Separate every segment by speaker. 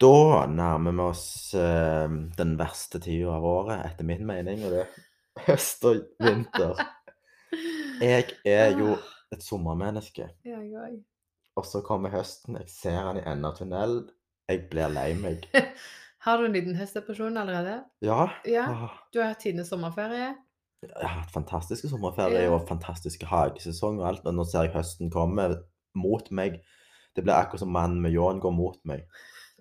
Speaker 1: Da nærmer vi oss, eh, den verste tida av året etter min mening, og det er høst og vinter. Jeg er jo
Speaker 2: Åh.
Speaker 1: et sommermenneske,
Speaker 2: Ja, jeg òg.
Speaker 1: og så kommer høsten. Jeg ser han i enden av tunnelen. Jeg blir lei meg.
Speaker 2: Har du en liten høstdepresjon allerede?
Speaker 1: Ja.
Speaker 2: Ja.
Speaker 1: Åh.
Speaker 2: Du har hatt tidenes sommerferie.
Speaker 1: Jeg har hatt fantastiske sommerferier
Speaker 2: Ja.
Speaker 1: og fantastiske hagesesong og alt, men nå ser jeg høsten komme mot meg. Det blir akkurat som mannen med ljåen går mot meg.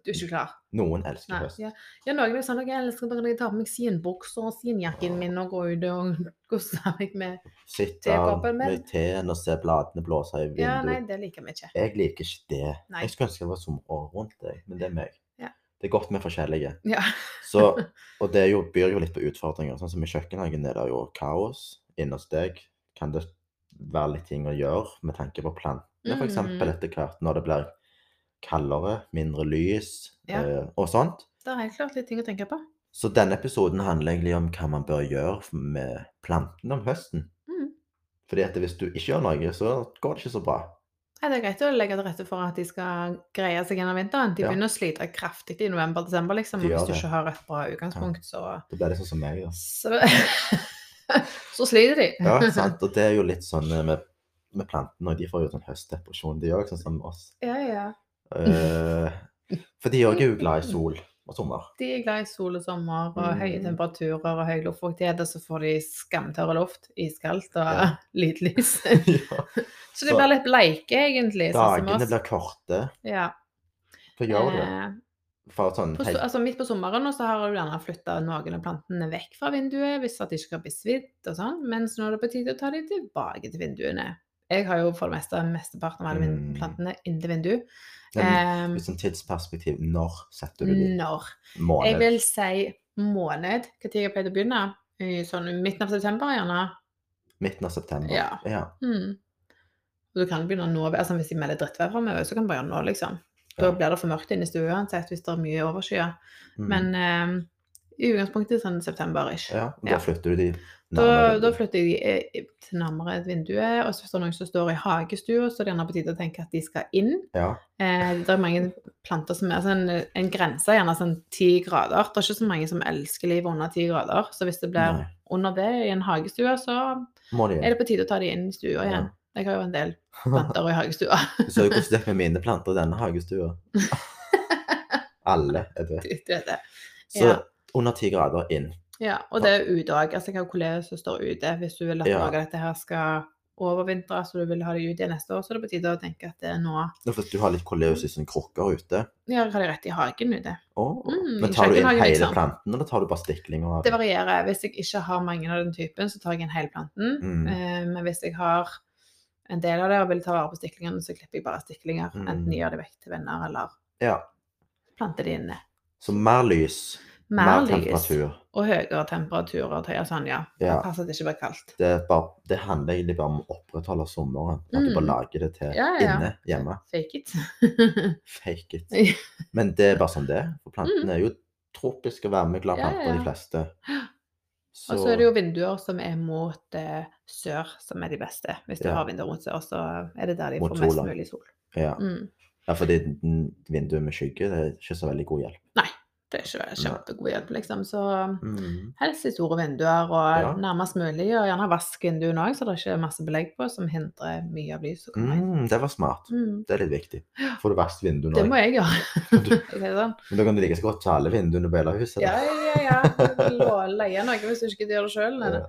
Speaker 2: Du er ikke klar.
Speaker 1: Noen elsker
Speaker 2: Nei.
Speaker 1: høst.
Speaker 2: Ja. ja, noen er jo sånn at jeg elsker når jeg tar på meg sienbukser og sienjakken min og går ut og koser meg med
Speaker 1: Sitte
Speaker 2: Tekoppen min.
Speaker 1: med teen og se bladene blåse i vinduet.
Speaker 2: Ja, nei, det liker vi ikke.
Speaker 1: Jeg liker ikke det.
Speaker 2: Nei.
Speaker 1: Jeg skulle ønske det var som år rundt deg, men det er meg.
Speaker 2: Ja.
Speaker 1: Det er godt med forskjellige.
Speaker 2: Ja.
Speaker 1: Så, og det er jo, byr jo litt på utfordringer. Sånn som i kjøkkenhagen er det jo kaos. Inne hos deg kan det være litt ting å gjøre med tanke på plantene, f.eks.
Speaker 2: Mhm.
Speaker 1: etter hvert når det blir kaldere, mindre lys
Speaker 2: Ja.
Speaker 1: eh, og sånt.
Speaker 2: Det er helt klart litt ting å tenke på.
Speaker 1: Så denne episoden handler egentlig om hva man bør gjøre med plantene om høsten.
Speaker 2: Mhm.
Speaker 1: Fordi at hvis du ikke gjør noe, så går det ikke så bra.
Speaker 2: Nei, det er greit å legge til rette for at de skal greie seg gjennom vinteren. De
Speaker 1: Ja.
Speaker 2: begynner å slite kraftig i november-desember, liksom.
Speaker 1: De
Speaker 2: og
Speaker 1: gjør
Speaker 2: Hvis du
Speaker 1: det.
Speaker 2: ikke har et bra utgangspunkt, så
Speaker 1: Da blir det sånn som meg, da.
Speaker 2: Så, så sliter de.
Speaker 1: Ja, sant. Og det er jo litt sånn eh, med, med plantene, og de får jo sånn høstdepresjon, de òg, sånn som oss.
Speaker 2: ja, ja.
Speaker 1: Eh, for de òg er jo glad i sol og sommer.
Speaker 2: De er glad i sol og sommer og høye
Speaker 1: Mm.
Speaker 2: temperaturer og høy luftfuktighet, og så får de skamtørre luft, iskaldt og
Speaker 1: Ja.
Speaker 2: lite lys.
Speaker 1: Ja.
Speaker 2: Så de
Speaker 1: Så-
Speaker 2: blir litt bleike, egentlig. Sånn som
Speaker 1: Dagene
Speaker 2: oss.
Speaker 1: blir korte.
Speaker 2: Ja.
Speaker 1: Hva gjør du?
Speaker 2: Eh,
Speaker 1: For sånn
Speaker 2: på,
Speaker 1: hei,
Speaker 2: so- altså, midt på sommeren nå, så har du gjerne flytta noen av plantene vekk fra vinduet hvis at de ikke skal bli svidd og sånn, mens nå er det på tide å ta de tilbake til vinduene. Jeg har jo for det meste mesteparten av alle min-
Speaker 1: Mm.
Speaker 2: plantene inntil vindu.
Speaker 1: men
Speaker 2: Eh,
Speaker 1: Ut sånn tidsperspektiv, når setter du de?
Speaker 2: når Jeg
Speaker 1: Måned?
Speaker 2: vil si måned. Når jeg pleide å begynne? I sånn midten av september, gjerne.
Speaker 1: Midten av september?
Speaker 2: Ja. Mm. Og Du kan begynne nå, altså Hvis de melder drittvær framover, så kan du bare gjøre det nå, liksom. Da
Speaker 1: Ja.
Speaker 2: blir det for mørkt inne i stua uansett hvis det er mye overskyet.
Speaker 1: Mm.
Speaker 2: Men eh, i utgangspunktet sånn september-ish.
Speaker 1: ja. og Da
Speaker 2: ja.
Speaker 1: flytter du de
Speaker 2: Da,
Speaker 1: nærmere
Speaker 2: da
Speaker 1: vinduet.
Speaker 2: flytter jeg de, eh, til nærmere et vindu. eh, Og så hvis det er noen som står i hagestua, så er det gjerne på tide å tenke at de skal inn.
Speaker 1: Ja.
Speaker 2: Eh, det er mange planter som er altså en, en grense, gjerne sånn ti grader. Det er ikke så mange som elsker livet under ti grader. Så hvis det blir
Speaker 1: Nei.
Speaker 2: under det i en hagestue, så
Speaker 1: Må de
Speaker 2: er
Speaker 1: inn.
Speaker 2: det på tide å ta de inn i stua
Speaker 1: Ja.
Speaker 2: igjen. Jeg har jo en del planter i hagestua.
Speaker 1: Du så jo hvordan det gikk med mine planter i denne hagestua. Alle er døde.
Speaker 2: Du vet det.
Speaker 1: Så
Speaker 2: Ja.
Speaker 1: under ti grader inn.
Speaker 2: Ja, og det er ute òg. Altså, jeg har kolleger som står ute. Hvis du vil at
Speaker 1: Ja.
Speaker 2: noe av dette her skal overvintre, så du vil ha de ut igjen neste år, så er det på tide å tenke at det er nå
Speaker 1: Nå for at du har litt koleus i sånne krukker ute.
Speaker 2: Ja, har de rett i hagen ute?
Speaker 1: Å,
Speaker 2: Mm,
Speaker 1: men
Speaker 2: i
Speaker 1: tar du inn
Speaker 2: kjøkkenhagen,
Speaker 1: hele
Speaker 2: liksom.
Speaker 1: planten, eller tar du bare stiklinger av
Speaker 2: Det
Speaker 1: den?
Speaker 2: varierer. Hvis jeg ikke har mange av den typen, så tar jeg en hel planten.
Speaker 1: Mm.
Speaker 2: Eh, men hvis jeg har en del av det og vil ta vare på stiklingene, så klipper jeg bare stiklinger.
Speaker 1: Mm.
Speaker 2: Enten jeg gjør det vekk til venner, eller
Speaker 1: Ja.
Speaker 2: planter de inne.
Speaker 1: Så mer lys, mer,
Speaker 2: Mer lys
Speaker 1: temperatur.
Speaker 2: og høyere temperaturer. til- ja, Sånn, ja.
Speaker 1: Ja.
Speaker 2: Det passer at det ikke blir kaldt.
Speaker 1: Det, er bare, det handler egentlig bare om å opprettholde sommeren. At du
Speaker 2: Mm.
Speaker 1: bare lager det til
Speaker 2: Ja, ja, ja.
Speaker 1: inne, hjemme.
Speaker 2: Fake it.
Speaker 1: Fake
Speaker 2: Ja. Mm.
Speaker 1: it. Men det er bare sånn det er. For plantene er jo tropiske, varmeglade
Speaker 2: Ja, ja,
Speaker 1: planter,
Speaker 2: ja.
Speaker 1: de fleste. Så,
Speaker 2: og så er det jo vinduer som er mot eh, sør, som er de beste. Hvis du
Speaker 1: Ja.
Speaker 2: har vinduer mot sør, så er det der de
Speaker 1: Mot
Speaker 2: får mest
Speaker 1: sola.
Speaker 2: mulig sol.
Speaker 1: ja.
Speaker 2: Mm.
Speaker 1: ja, fordi den- vinduet med skygge det er ikke så veldig god hjelp.
Speaker 2: Det er ikke
Speaker 1: Nei.
Speaker 2: kjempegod hjelp, liksom. Så
Speaker 1: Mm.
Speaker 2: helst i store vinduer og
Speaker 1: Ja.
Speaker 2: nærmest mulig, og gjerne vask vinduene òg, så det er ikke er masse belegg på som hindrer mye av lyset. å komme inn.
Speaker 1: Mm, det var smart.
Speaker 2: Mm.
Speaker 1: Det er litt viktig. Får du verst vinduet
Speaker 2: Det
Speaker 1: nå?
Speaker 2: må jeg gjøre.
Speaker 1: Men du-
Speaker 2: For å si det sånn.
Speaker 1: Men da kan du like så godt ta alle vinduene på hele huset. da.
Speaker 2: Ja, ja, ja. Du må Leie noe hvis du ikke gjør det sjøl.
Speaker 1: Ja.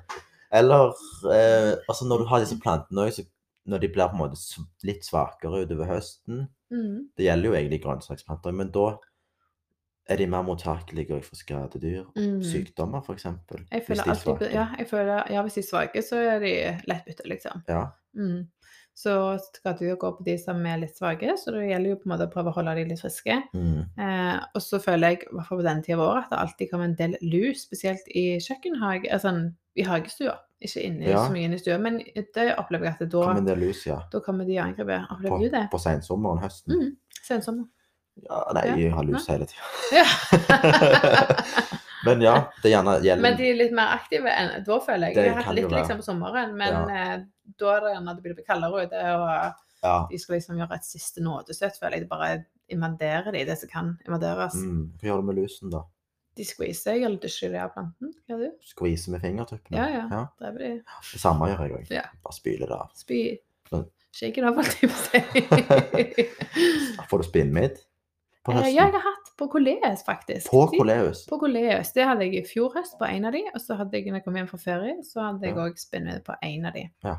Speaker 1: Eller eh, altså når du har disse plantene òg, når de blir på en måte s- litt svakere utover høsten
Speaker 2: Mm.
Speaker 1: Det gjelder jo egentlig grønnsaksplanter, men da er de mer mottakelige også for skadedyr.
Speaker 2: Mm.
Speaker 1: Sykdommer, f.eks.
Speaker 2: Jeg føler alltid, ja, jeg føler, ja, hvis de er svake, så er de lett bytte, liksom.
Speaker 1: Ja.
Speaker 2: Mm. Så skal du jo gå på de som er litt svake, så det gjelder jo på en måte å prøve å holde de litt friske.
Speaker 1: Mm.
Speaker 2: Eh, og så føler jeg, i hvert fall på den tida av året, at det alltid kommer en del lus, spesielt i kjøkkenhage, altså i hagestua. Ikke inne,
Speaker 1: Ja.
Speaker 2: så mye inne i stua, men det opplever jeg at det
Speaker 1: Kommer
Speaker 2: da,
Speaker 1: en del lus, ja.
Speaker 2: da kommer de angripe.
Speaker 1: På,
Speaker 2: Opplever du det?
Speaker 1: på sensommeren, høsten.
Speaker 2: Mm. Sensommer.
Speaker 1: Ja, nei,
Speaker 2: Ja.
Speaker 1: jeg har lus hele tida.
Speaker 2: Ja.
Speaker 1: men ja, det gjerne gjelder
Speaker 2: men de er litt mer aktive enn da, føler jeg.
Speaker 1: Det
Speaker 2: Jeg har
Speaker 1: kan
Speaker 2: hatt
Speaker 1: det
Speaker 2: litt
Speaker 1: være.
Speaker 2: liksom på sommeren, men eh, da er det gjerne at det blir litt kaldere ute, og
Speaker 1: ja.
Speaker 2: de skal liksom gjøre et siste nådestøt, føler jeg. Det bare invaderer de, det som kan invaderes.
Speaker 1: Mm. Hva gjør du med lusen, da?
Speaker 2: De squeezer deg, eller dusjer de av planten. Hva gjør du?
Speaker 1: Skvise med fingertuppene?
Speaker 2: Ja, ja. Dreper de.
Speaker 1: Det samme gjør jeg òg.
Speaker 2: Ja.
Speaker 1: Bare spyler det av.
Speaker 2: Spy.
Speaker 1: Men-
Speaker 2: Shake it up, holdt jeg på å si.
Speaker 1: Får du spinnmidd på
Speaker 2: Eh, Ja, jeg
Speaker 1: høsten?
Speaker 2: har hatt på koleus, faktisk.
Speaker 1: På
Speaker 2: De-
Speaker 1: koleus?
Speaker 2: På koleus. Det hadde jeg i fjor høst på en av de, og så hadde jeg når jeg kom hjem fra ferie, så hadde jeg
Speaker 1: Ja.
Speaker 2: òg spinnvidd på en av de.
Speaker 1: Ja.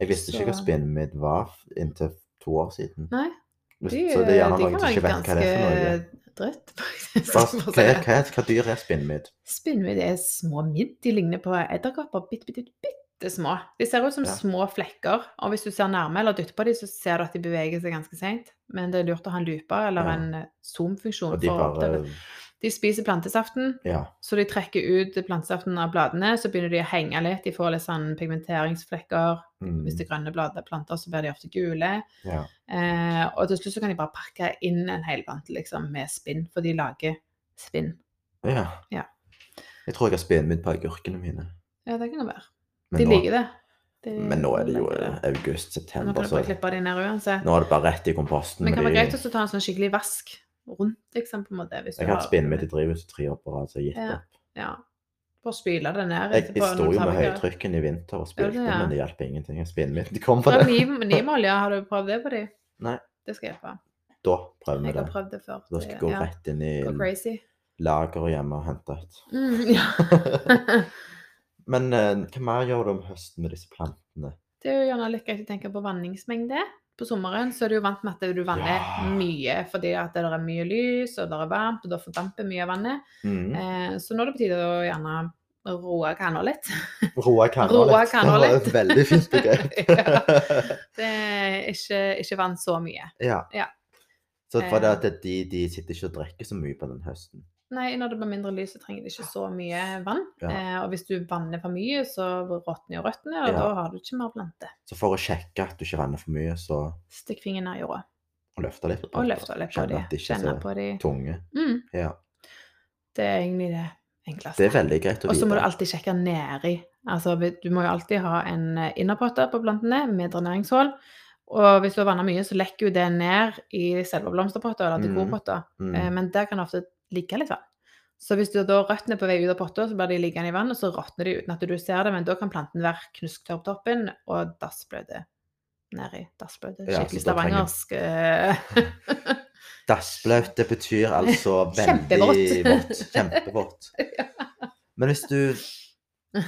Speaker 1: Jeg visste ikke hva
Speaker 2: Så-
Speaker 1: spinnmidd var f- inntil to år siden.
Speaker 2: Nei,
Speaker 1: Hvis-
Speaker 2: de,
Speaker 1: så det er gjerne
Speaker 2: de
Speaker 1: noen
Speaker 2: kan
Speaker 1: som
Speaker 2: være
Speaker 1: ikke vet hva det er for noe.
Speaker 2: ganske dritt, faktisk.
Speaker 1: Hva, hva,
Speaker 2: skal jeg bare si. sånn.
Speaker 1: hva, er- hva dyr er spinnmidd?
Speaker 2: Spinnvidd er små midd. De ligner på edderkopper. Bitte, bitte, bitte små. De ser ut som
Speaker 1: Ja.
Speaker 2: små flekker. Og hvis du ser nærme eller dytter på dem, så ser du at de beveger seg ganske seint. Men det er lurt å ha en lupe eller
Speaker 1: Ja.
Speaker 2: en eh, zoom-funksjon.
Speaker 1: Og de
Speaker 2: for å
Speaker 1: bare
Speaker 2: oppdage- De spiser plantesaften,
Speaker 1: Ja.
Speaker 2: så de trekker ut plantesaften av bladene. Så begynner de å henge litt. De får litt sånn pigmenteringsflekker.
Speaker 1: Mm,
Speaker 2: Hvis det er grønne blader, planter, så blir de ofte gule.
Speaker 1: ja.
Speaker 2: Eh, og til slutt så kan de bare pakke inn en hel plante liksom, med spinn, for de lager spinn.
Speaker 1: ja.
Speaker 2: Ja.
Speaker 1: Jeg tror jeg har spinnmidd på agurkene mine.
Speaker 2: Ja, det kan det være.
Speaker 1: Men,
Speaker 2: De
Speaker 1: nå,
Speaker 2: liker det. De
Speaker 1: men nå er det jo
Speaker 2: liker
Speaker 1: eh,
Speaker 2: Nå
Speaker 1: august-september,
Speaker 2: kan du
Speaker 1: så
Speaker 2: bare klippe de ned uansett.
Speaker 1: nå er det bare rett i komposten.
Speaker 2: Men det kan
Speaker 1: med
Speaker 2: være
Speaker 1: de-
Speaker 2: greit også å ta en sånn skikkelig vask rundt, liksom, på en måte. Hvis
Speaker 1: Jeg
Speaker 2: du
Speaker 1: har hatt spinnmidd i drivhuset tre år på rad, så jeg har gitt
Speaker 2: Ja.
Speaker 1: opp.
Speaker 2: Ja. Bare spyle det ned
Speaker 1: Jeg, jeg
Speaker 2: etterpå
Speaker 1: sto
Speaker 2: når du
Speaker 1: jo
Speaker 2: tar
Speaker 1: med
Speaker 2: vekk det.
Speaker 1: høytrykken i vinter og
Speaker 2: Gjorde
Speaker 1: spilte,
Speaker 2: du det, ja?
Speaker 1: men det hjalp ingenting. Spinnmidd kom på det.
Speaker 2: Prøv lim- Limolje, har du prøvd det på de?
Speaker 1: Nei.
Speaker 2: Det skal jeg prøve.
Speaker 1: Da prøver vi
Speaker 2: Jeg har
Speaker 1: det.
Speaker 2: prøvd det før.
Speaker 1: Da skal jeg gå
Speaker 2: Ja,
Speaker 1: rett inn i
Speaker 2: Gå crazy.
Speaker 1: lageret hjemme og hente et.
Speaker 2: Mm, ja.
Speaker 1: Men eh, hva mer gjør du om høsten med disse plantene?
Speaker 2: Det er jo gjerne litt greit å tenke på vanningsmengde. På sommeren så er du jo vant med at du vanner
Speaker 1: Ja.
Speaker 2: mye, fordi at det er mye lys, og det er varmt, og da fordamper mye av vannet.
Speaker 1: Mm.
Speaker 2: Eh, så nå er det på tide å gjerne roe kanna litt.
Speaker 1: Roa kanner
Speaker 2: Roa
Speaker 1: litt. Det
Speaker 2: kanner
Speaker 1: var et
Speaker 2: litt.
Speaker 1: Veldig fint begrep.
Speaker 2: Det er ikke, ikke vann så mye.
Speaker 1: ja.
Speaker 2: Ja. Eh.
Speaker 1: Så for det at de, de sitter ikke og drikker så mye på den høsten.
Speaker 2: Nei, når det blir mindre lys, så trenger det ikke så mye vann.
Speaker 1: Ja.
Speaker 2: Eh, og hvis du vanner for mye, så råtner jo røttene, og
Speaker 1: Ja.
Speaker 2: da har du ikke mer plante.
Speaker 1: Så for å sjekke at du ikke vanner for mye, så
Speaker 2: Stikk fingeren ned i jorda,
Speaker 1: og løfter litt.
Speaker 2: og løft litt på
Speaker 1: Kjenner
Speaker 2: de.
Speaker 1: at de ikke er
Speaker 2: Kjenne
Speaker 1: så
Speaker 2: på de.
Speaker 1: tunge.
Speaker 2: Mm,
Speaker 1: Ja.
Speaker 2: det er egentlig det enkleste.
Speaker 1: Det er veldig greit å
Speaker 2: Og så må du
Speaker 1: vite.
Speaker 2: alltid sjekke nedi. Altså, vi- du må jo alltid ha en eh, innerpotte på plantene med dreneringshull. Og hvis du har vanna mye, så lekker jo det ned i selve blomsterpotta eller
Speaker 1: Mhm.
Speaker 2: dekorpotta. Eh,
Speaker 1: Mm.
Speaker 2: Men der kan det ofte ligge litt vann. Så hvis du da røttene er på vei ut av potta, så blir de liggende i vann, og så råtner de uten at du ser det, men da kan planten være knusktørr på toppen og dassbløte nedi. Dassbløte.
Speaker 1: Ja,
Speaker 2: Skikkelig
Speaker 1: så da trenger-
Speaker 2: stavangersk. eh,
Speaker 1: Dassblaut, det betyr altså veldig
Speaker 2: Kjempevått.
Speaker 1: vått. Kjempevått. Men hvis du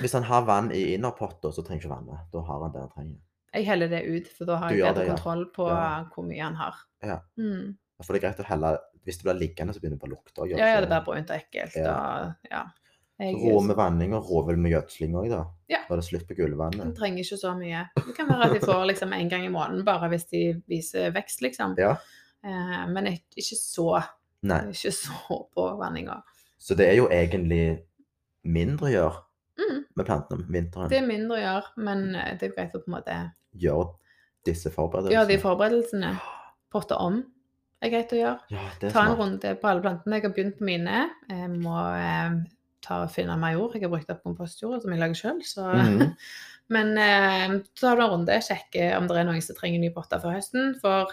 Speaker 1: Hvis han har vann i innerpotta, så trenger han ikke vanne. Da har han det han trenger.
Speaker 2: Jeg heller det ut, for da har
Speaker 1: Du
Speaker 2: jeg
Speaker 1: gjør
Speaker 2: bedre
Speaker 1: det, ja.
Speaker 2: kontroll på
Speaker 1: Ja.
Speaker 2: hvor mye han har.
Speaker 1: Ja.
Speaker 2: Mm.
Speaker 1: For det er greit å helle Hvis det blir liggende, så begynner det bare å lukte. og gjør
Speaker 2: Ja, ja,
Speaker 1: ikke
Speaker 2: det blir brunt og ekkelt.
Speaker 1: Ja.
Speaker 2: Og, ja. Jeg,
Speaker 1: Rå med vanning og rå vel med gjødsling òg, da.
Speaker 2: Ja. Mm.
Speaker 1: Når det er slutt på
Speaker 2: de
Speaker 1: gulvannet.
Speaker 2: trenger ikke så mye. Det kan være at de får liksom en gang i måneden, bare hvis de viser vekst, liksom.
Speaker 1: Ja.
Speaker 2: Eh, men ik- ikke så,
Speaker 1: Nei.
Speaker 2: ikke så på vanninga.
Speaker 1: Så det er jo egentlig mindre å gjøre
Speaker 2: Mm.
Speaker 1: med plantene om vinteren.
Speaker 2: Det er mindre å gjøre, men eh, det er greit å på en måte
Speaker 1: Gjør disse forberedelsene.
Speaker 2: gjøre de forberedelsene. Potte om er greit å gjøre.
Speaker 1: Ja, det er
Speaker 2: Ta en
Speaker 1: smart.
Speaker 2: runde på alle plantene. Jeg har begynt på mine. Jeg må eh, ta og finne meg jord. Jeg har brukt opp kompostjorda som jeg lager sjøl, så
Speaker 1: Mhm.
Speaker 2: Men eh, ta en runde, sjekke om det er noen som trenger ny potte før høsten. For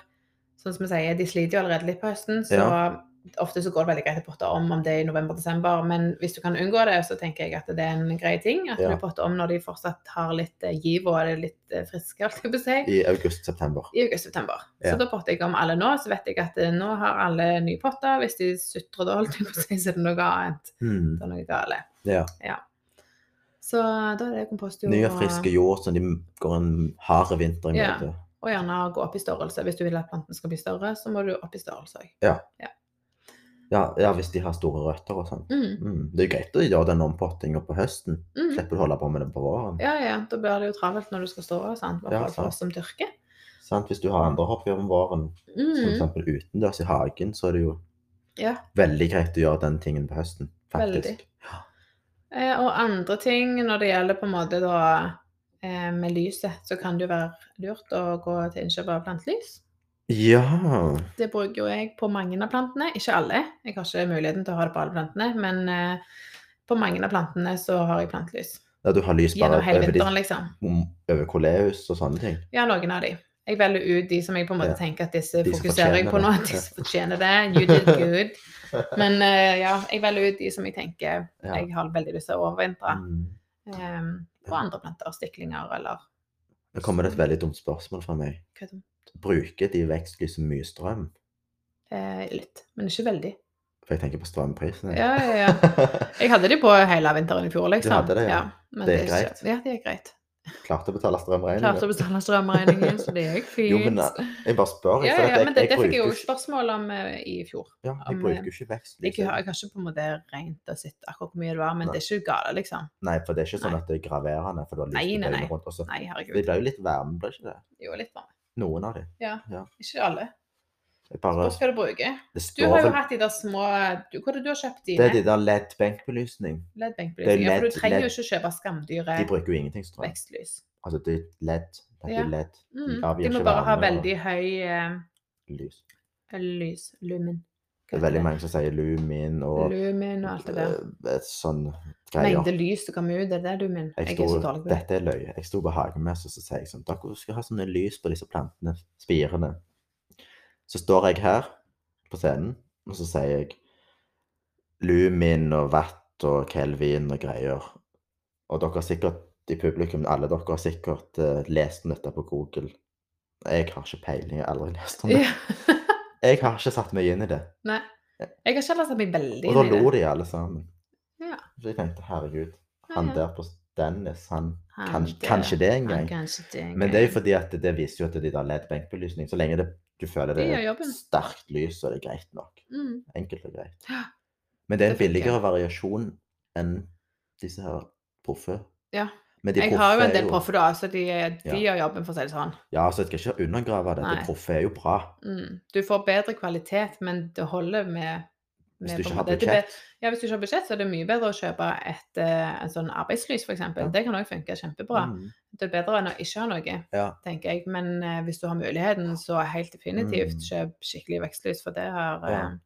Speaker 2: sånn som jeg sier, de sliter jo allerede litt på høsten, så ofte så går det veldig greit å potte om om det er i november-desember. Men hvis du kan unngå det, så tenker jeg at det er en grei ting. At
Speaker 1: Ja.
Speaker 2: du potter om når de fortsatt har litt eh, giv og er litt eh, friske, holdt jeg på å si.
Speaker 1: I august-september.
Speaker 2: I august-september.
Speaker 1: Ja.
Speaker 2: Så da potter jeg om alle nå. Så vet jeg at eh, nå har alle ny potte. Hvis de sutrer da, holdt jeg på å si, så er det noe annet.
Speaker 1: Mm.
Speaker 2: Det er noe gale.
Speaker 1: Ja.
Speaker 2: Så da er det kompostjord.
Speaker 1: Ny
Speaker 2: og-
Speaker 1: og frisk jord som de går en hard vinter i
Speaker 2: Ja.
Speaker 1: møte.
Speaker 2: Og gjerne gå opp i størrelse. Hvis du vil at planten skal bli større, så må du opp i størrelse òg.
Speaker 1: Ja, ja, hvis de har store røtter og sånn.
Speaker 2: Mm.
Speaker 1: Mm. Det er jo greit å gjøre den ompottinga på høsten.
Speaker 2: Mm.
Speaker 1: Slipper du holde på med det på våren.
Speaker 2: Ja, ja. Da blir det jo travelt når du skal stå, sant? I hvert
Speaker 1: Ja,
Speaker 2: fall for
Speaker 1: sant.
Speaker 2: oss som dyrker.
Speaker 1: Sant? Hvis du har andre hopp om våren, som
Speaker 2: Mm.
Speaker 1: f.eks. utendørs i hagen, så er det jo
Speaker 2: Ja.
Speaker 1: veldig greit å gjøre den tingen på høsten.
Speaker 2: Veldig.
Speaker 1: Faktisk.
Speaker 2: Eh, og andre ting når det gjelder på en måte da eh, med lyset, så kan det jo være lurt å gå til innkjøp av plantelys.
Speaker 1: Ja.
Speaker 2: Det bruker jo jeg på mange av plantene, ikke alle. Jeg har ikke muligheten til å ha det på alle plantene, men eh, på mange av plantene så har jeg plantelys.
Speaker 1: ja! Du har lys bare
Speaker 2: Gjennom hele
Speaker 1: over,
Speaker 2: vinteren,
Speaker 1: de,
Speaker 2: liksom.
Speaker 1: om- over koleus og sånne ting.
Speaker 2: Ja, noen av de. Jeg velger ut de som jeg på en måte
Speaker 1: Ja.
Speaker 2: tenker at disse
Speaker 1: De som
Speaker 2: fokuserer jeg på nå.
Speaker 1: fortjener det.
Speaker 2: De som fortjener det. You did good. Men eh, ja, jeg velger ut de som jeg tenker
Speaker 1: Ja.
Speaker 2: jeg har veldig lyst til å overvintre.
Speaker 1: Mm.
Speaker 2: Ehm, og andre planter, stiklinger eller
Speaker 1: Nå kommer det et veldig dumt spørsmål fra meg.
Speaker 2: hva som
Speaker 1: Bruker de vekstlys så mye strøm?
Speaker 2: eh, Litt, men ikke veldig.
Speaker 1: For jeg tenker på strømprisen. jeg.
Speaker 2: Ja, ja, ja. Jeg hadde de på hele vinteren i fjor, liksom.
Speaker 1: Mm. Du hadde det, ja.
Speaker 2: men
Speaker 1: Det er
Speaker 2: ikke-
Speaker 1: greit.
Speaker 2: Ja, det er greit.
Speaker 1: Klarte å betale
Speaker 2: Klarte å
Speaker 1: strømregningen.
Speaker 2: betale strømregningen, så det gikk fint.
Speaker 1: Jo, men eh, jeg bare spør.
Speaker 2: ja,
Speaker 1: for at
Speaker 2: ja,
Speaker 1: jeg,
Speaker 2: men det, det
Speaker 1: jeg
Speaker 2: fikk jeg jo
Speaker 1: bruker ikke-
Speaker 2: spørsmål om eh, i fjor.
Speaker 1: Ja, jeg
Speaker 2: om,
Speaker 1: bruker
Speaker 2: eh,
Speaker 1: jo ikke liksom. vekstlys.
Speaker 2: Jeg, har- jeg har ikke på en måte regnet og sett akkurat hvor mye det var, men det er ikke galt, liksom.
Speaker 1: Nei, for det er ikke sånn
Speaker 2: Nei.
Speaker 1: at det er graverende, for du har lyst
Speaker 2: Nei,
Speaker 1: til
Speaker 2: nei, nei.
Speaker 1: døgnet rundt. Også.
Speaker 2: Nei,
Speaker 1: De
Speaker 2: herregud.
Speaker 1: ble jo litt varme, ble ikke det?
Speaker 2: Jo, litt varme.
Speaker 1: Noen av de.
Speaker 2: Ikke alle.
Speaker 1: Jeg bare,
Speaker 2: Hva skal du bruke?
Speaker 1: det
Speaker 2: Du
Speaker 1: står
Speaker 2: har jo
Speaker 1: vel
Speaker 2: hatt de der små du, Hva er det du har kjøpt
Speaker 1: Det er de
Speaker 2: dine?
Speaker 1: der LED-benkbelysning.
Speaker 2: LED-benkbelysninger. Ja,
Speaker 1: LED
Speaker 2: for du trenger jo
Speaker 1: LED.
Speaker 2: ikke kjøpe skamdyre
Speaker 1: De bruker jo ingenting strøm.
Speaker 2: vekstlys.
Speaker 1: Altså, det er LED. Det er
Speaker 2: Ja.
Speaker 1: jo LED.
Speaker 2: Mm.
Speaker 1: avgir
Speaker 2: De må
Speaker 1: ikke
Speaker 2: bare ha
Speaker 1: varme og
Speaker 2: veldig høy eh,
Speaker 1: lys.
Speaker 2: lys. Lumen.
Speaker 1: Det er veldig mange som sier lumin og
Speaker 2: Lumen og alt det der.
Speaker 1: eh, et sånn
Speaker 2: Mengde
Speaker 1: greier.
Speaker 2: lys som kommer ut, er det det du mener?
Speaker 1: Jeg
Speaker 2: Jeg er så
Speaker 1: sto,
Speaker 2: dårlig på det.
Speaker 1: dette er løye. Jeg sto på hagemessa og så sier jeg sånn Dere skal ha sånne lys på disse plantene, spirene. Så står jeg her på scenen, og så sier jeg lumin og vatt og kelvin og greier. Og dere har sikkert i publikum, alle dere har sikkert eh, lest om dette på Google. Jeg har ikke peiling, jeg har aldri lest om det.
Speaker 2: Ja.
Speaker 1: Jeg har ikke satt meg inn i det.
Speaker 2: Nei. Jeg har ikke lest meg veldig
Speaker 1: Og da
Speaker 2: inn i
Speaker 1: lo
Speaker 2: det.
Speaker 1: de alle sammen.
Speaker 2: Ja.
Speaker 1: Så jeg tenkte herregud,
Speaker 2: Ja,
Speaker 1: han
Speaker 2: ja.
Speaker 1: der på Dennis, han
Speaker 2: Han
Speaker 1: kan,
Speaker 2: dør.
Speaker 1: kanskje det
Speaker 2: Han
Speaker 1: engang.
Speaker 2: kanskje det engang.
Speaker 1: Men det er jo fordi at det- det viser jo at de der LED-benkbelysning, så lenge det, du føler
Speaker 2: Det
Speaker 1: det
Speaker 2: gjør
Speaker 1: er
Speaker 2: jobben.
Speaker 1: sterkt lys, så er det greit nok.
Speaker 2: mm.
Speaker 1: Enkelt og greit.
Speaker 2: Ja.
Speaker 1: Men det er en
Speaker 2: Det funker.
Speaker 1: billigere variasjon enn disse her proffe.
Speaker 2: Ja.
Speaker 1: Men de
Speaker 2: Jeg har jo
Speaker 1: proffe
Speaker 2: en
Speaker 1: er
Speaker 2: del proffe, da, så de, eh, de
Speaker 1: Ja.
Speaker 2: gjør jobben, for å si det sånn.
Speaker 1: Ja, så jeg skal ikke undergrave det.
Speaker 2: Nei.
Speaker 1: Det proffe er jo bra.
Speaker 2: Mm. Du får bedre kvalitet, men det holder med, med
Speaker 1: Hvis du
Speaker 2: på
Speaker 1: ikke
Speaker 2: en
Speaker 1: har
Speaker 2: måte- det er be-
Speaker 1: budsjett.
Speaker 2: Ja, hvis du ikke har budsjett, så er det mye bedre å kjøpe et, eh, en sånn arbeidslys, f.eks.
Speaker 1: Ja.
Speaker 2: eksempel. Det kan òg funke kjempebra.
Speaker 1: Mm.
Speaker 2: Det er bedre enn å ikke ha noe,
Speaker 1: Ja.
Speaker 2: tenker jeg. Men eh, hvis du har muligheten, så helt
Speaker 1: Mm.
Speaker 2: definitivt kjøp skikkelig vekstlys, for det har
Speaker 1: Ja.
Speaker 2: eh,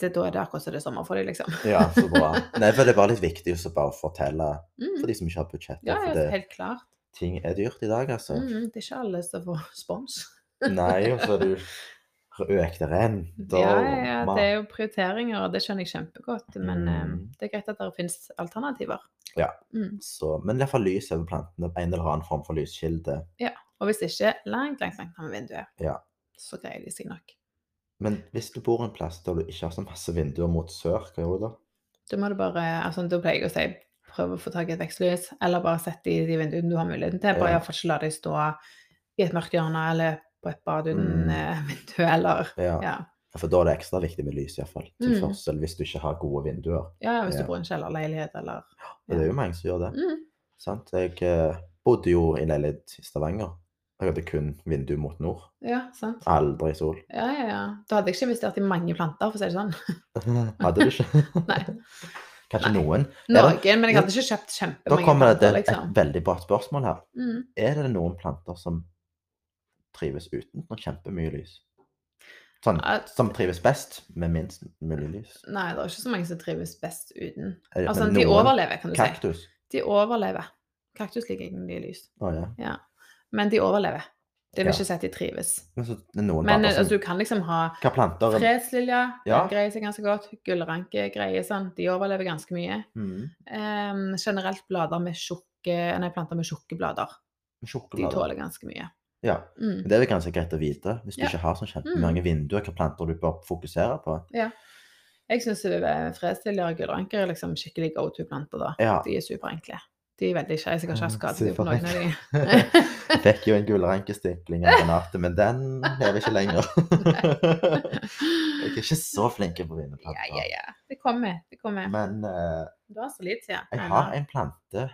Speaker 2: det, Da er det akkurat som det er sommer for deg, liksom.
Speaker 1: ja, så bra. Nei, for det er bare litt viktig å så bare fortelle
Speaker 2: Mm.
Speaker 1: for de som ikke har budsjett.
Speaker 2: Ja,
Speaker 1: for
Speaker 2: ja,
Speaker 1: det,
Speaker 2: helt klart.
Speaker 1: ting er dyrt i dag, altså.
Speaker 2: Mm, det er ikke alle som får spons.
Speaker 1: Nei, og så er det jo økte renter
Speaker 2: ja,
Speaker 1: og
Speaker 2: ja, ja,
Speaker 1: mat.
Speaker 2: det er jo prioriteringer, og det skjønner jeg kjempegodt. Men eh,
Speaker 1: Mm.
Speaker 2: det er greit at det finnes alternativer.
Speaker 1: Ja.
Speaker 2: Mm.
Speaker 1: så, Men iallfall lys over plantene. En eller annen form for lyskilde.
Speaker 2: Og hvis ikke, langt, langt, langt fram i vinduet,
Speaker 1: Ja.
Speaker 2: så greier de seg nok.
Speaker 1: Men hvis du bor en plass der du ikke har så masse vinduer mot sør, hva gjør du da?
Speaker 2: Da må du bare, altså da pleier jeg å si prøv å få tak i et vekstlys, eller bare sett det i de vinduene du har muligheten til. Bare
Speaker 1: Ja.
Speaker 2: iallfall ikke la deg stå i et mørkt hjørne eller på et bad uten
Speaker 1: Mm.
Speaker 2: eh, vindu, eller
Speaker 1: Ja.
Speaker 2: ja.
Speaker 1: For da er det ekstra viktig med lys, iallfall.
Speaker 2: Mm.
Speaker 1: Tilførsel, hvis du ikke har gode vinduer.
Speaker 2: ja, hvis
Speaker 1: Ja.
Speaker 2: du bor i en kjellerleilighet, eller
Speaker 1: Og det er jo mange som gjør det.
Speaker 2: mm.
Speaker 1: sant? Jeg eh, bodde jo i en leilighet i Stavanger. Jeg hadde kun vindu mot nord.
Speaker 2: Ja, sant.
Speaker 1: Aldri sol.
Speaker 2: Ja, ja, ja. Da hadde jeg ikke investert i mange planter, for å si det sånn.
Speaker 1: Hadde du ikke?
Speaker 2: Nei.
Speaker 1: Kanskje
Speaker 2: Nei.
Speaker 1: noen. Er
Speaker 2: Noen,
Speaker 1: det-
Speaker 2: men jeg hadde ikke kjøpt
Speaker 1: Da
Speaker 2: kjempemange
Speaker 1: kommer det
Speaker 2: planter,
Speaker 1: et,
Speaker 2: liksom.
Speaker 1: et veldig bra spørsmål her.
Speaker 2: Mm.
Speaker 1: er det noen planter som trives uten noe kjempemye lys? Sånn,
Speaker 2: Ja,
Speaker 1: som trives best med minst mulig lys?
Speaker 2: Nei, det er ikke så mange som trives best uten.
Speaker 1: Er det-
Speaker 2: Altså,
Speaker 1: men
Speaker 2: de
Speaker 1: noen-
Speaker 2: overlever, kan du si.
Speaker 1: Kaktus?
Speaker 2: De overlever. Kaktus liker ikke mye lys,
Speaker 1: Å ja.
Speaker 2: men de overlever. Det vil
Speaker 1: Ja.
Speaker 2: ikke si at de trives.
Speaker 1: Men så det er noen
Speaker 2: Men
Speaker 1: planter som
Speaker 2: altså, du kan liksom ha
Speaker 1: Hva planter er-
Speaker 2: fredslilja,
Speaker 1: Ja.
Speaker 2: den greier seg ganske godt. Gullranke greier sånn. De overlever ganske mye.
Speaker 1: mm,
Speaker 2: Ehm, generelt blader med tjukke Nei, planter med tjukke blader. De
Speaker 1: Sjokolade.
Speaker 2: tåler ganske mye.
Speaker 1: Ja.
Speaker 2: Mm.
Speaker 1: Men det er vel ganske greit å vite, hvis du
Speaker 2: Ja. Mm.
Speaker 1: ikke har så kjempemange vinduer, hva planter du bør fokusere på.
Speaker 2: Jeg syns fredsliljer og gullranker er liksom skikkelig go to-planter, da.
Speaker 1: Ja.
Speaker 2: De er superenkle. De er veldig kjeie, så jeg har ikke hatt
Speaker 1: Ja,
Speaker 2: skade på noen av de.
Speaker 1: Jeg Fikk jo en gullrankestikling av Renate, men den lever ikke lenger. Jeg er ikke så flink på
Speaker 2: Ja,
Speaker 1: vineplanter.
Speaker 2: ja, ja. Det kommer. Det kommer.
Speaker 1: Men eh,
Speaker 2: Du har så lite siden.
Speaker 1: Jeg
Speaker 2: Nei,
Speaker 1: har
Speaker 2: nei.
Speaker 1: en plante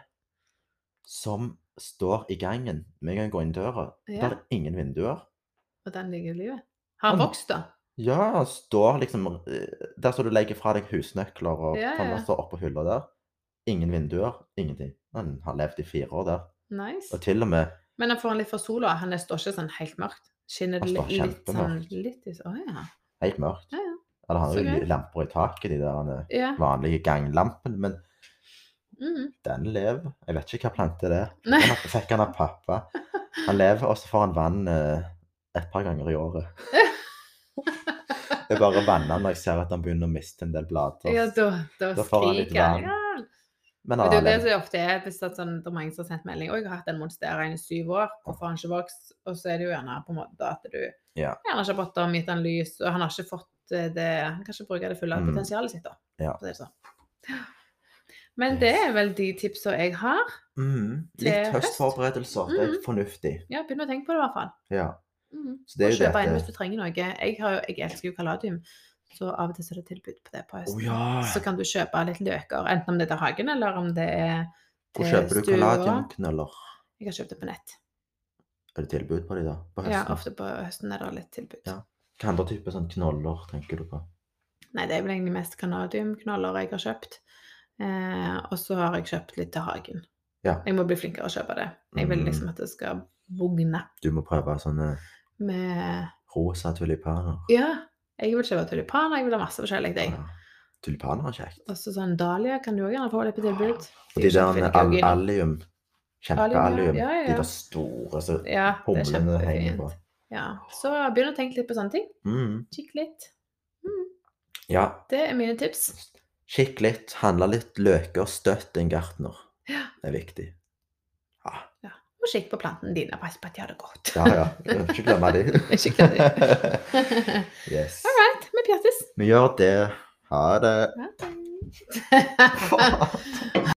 Speaker 1: som står i gangen med en gang jeg går inn døra.
Speaker 2: Ja.
Speaker 1: Der er ingen vinduer.
Speaker 2: Og den ligger i livet. Har han
Speaker 1: Han-
Speaker 2: vokst, da?
Speaker 1: Ja, han står liksom eh, Der som du legger fra deg husnøkler og
Speaker 2: Mm. Ja, ja,
Speaker 1: sånn,
Speaker 2: ja.
Speaker 1: den står oppå hylla der. Ingen vinduer, ingenting. Han har levd i fire år der.
Speaker 2: Nice.
Speaker 1: Og til og med
Speaker 2: Men han får han litt fra sola. Han er- står ikke sånn helt mørkt. Skinner det
Speaker 1: Han står
Speaker 2: litt, litt sånn
Speaker 1: kjempemørkt.
Speaker 2: litt i Å ja.
Speaker 1: helt mørkt.
Speaker 2: Ja, ja.
Speaker 1: Eller han har
Speaker 2: Så
Speaker 1: jo
Speaker 2: greit.
Speaker 1: ly- lamper i taket, de der han er
Speaker 2: ja.
Speaker 1: vanlige ganglampene. Men
Speaker 2: Mm.
Speaker 1: den lever. Jeg vet ikke hva plante det er.
Speaker 2: Nei.
Speaker 1: Den fikk han av pappa. Han lever, og så får han vann eh, et par ganger i året. Jeg bare vanner han når jeg ser at han begynner å miste en del blader.
Speaker 2: Ja, da, da,
Speaker 1: Da får han litt
Speaker 2: skriker han.
Speaker 1: vann.
Speaker 2: Ja.
Speaker 1: Men
Speaker 2: Men det er jo det
Speaker 1: han
Speaker 2: som ofte er hvis at sånn, det er mange som har sendt melding «Oi, jeg har hatt en monsterregn i syv år, hvorfor har han ikke vokst? Og så er det jo gjerne på en måte at du
Speaker 1: Ja.
Speaker 2: gjerne ikke har fått om gitt han lys, og han har ikke fått eh, det Han kan ikke bruke det fulle
Speaker 1: Mm.
Speaker 2: potensialet sitt, da.
Speaker 1: Ja.
Speaker 2: for å si det sånn. Men det er vel de tipsa jeg har.
Speaker 1: mm,
Speaker 2: til
Speaker 1: Litt
Speaker 2: høst.
Speaker 1: høstforberedelser, det er
Speaker 2: Mhm.
Speaker 1: fornuftig.
Speaker 2: Ja, begynn å tenke på det, i hvert fall.
Speaker 1: Ja.
Speaker 2: Mm.
Speaker 1: Så det er
Speaker 2: Og
Speaker 1: jo det
Speaker 2: kjøp
Speaker 1: at eh,
Speaker 2: inn
Speaker 1: det-
Speaker 2: hvis du trenger noe. Jeg, har jo, jeg elsker jo kaladium, så av og til så er det tilbud på det på
Speaker 1: Å
Speaker 2: høsten. Så
Speaker 1: ja!
Speaker 2: kan du kjøpe litt løker, enten om det er til hagen eller om det er
Speaker 1: Hvor
Speaker 2: til
Speaker 1: kjøper du
Speaker 2: stua.
Speaker 1: kaladiumknøller?
Speaker 2: Jeg har kjøpt det på nett.
Speaker 1: Er det tilbud på de da? På
Speaker 2: Ja,
Speaker 1: høsten?
Speaker 2: ofte på høsten er det litt tilbud.
Speaker 1: Ja. Hva andre typer sånn knoller tenker du på?
Speaker 2: Nei, det er vel egentlig mest kanadiumknaller jeg har kjøpt. Eh, og så har jeg kjøpt litt til hagen.
Speaker 1: Ja.
Speaker 2: Jeg må bli flinkere å kjøpe det. Jeg vil
Speaker 1: Mm.
Speaker 2: liksom at det skal bugne
Speaker 1: Du må prøve sånne
Speaker 2: med
Speaker 1: rosa tulipaner.
Speaker 2: Ja, jeg vil kjøpe tulipaner, jeg vil ha masse forskjellig. jeg.
Speaker 1: Ja. Tulipaner er kjekt.
Speaker 2: Og så sånn dahlia kan du òg gjerne få litt på tilbud.
Speaker 1: Og
Speaker 2: er
Speaker 1: de der
Speaker 2: jo kjempefine
Speaker 1: al
Speaker 2: georginer.
Speaker 1: allium,
Speaker 2: Allium,
Speaker 1: kjempeallium,
Speaker 2: ja, ja, ja.
Speaker 1: de der store så
Speaker 2: Ja, det er
Speaker 1: humlene henger på.
Speaker 2: kjempefint. Ja. Så begynn å tenke litt på sånne ting.
Speaker 1: Mm.
Speaker 2: Kikk litt. Mm.
Speaker 1: Ja,
Speaker 2: Det er mine tips.
Speaker 1: kikk litt, handle litt løker, støtt en gartner.
Speaker 2: Ja.
Speaker 1: Det er viktig. Ja,
Speaker 2: Og kikk på plantene dine. Pass på at de har det godt.
Speaker 1: ja. ja. Jeg må Ikke glemme de.
Speaker 2: Ikke glem de.
Speaker 1: yes.
Speaker 2: All right, vi pjattes.
Speaker 1: Vi gjør det. Ha det.
Speaker 2: Ha det.
Speaker 1: Faen.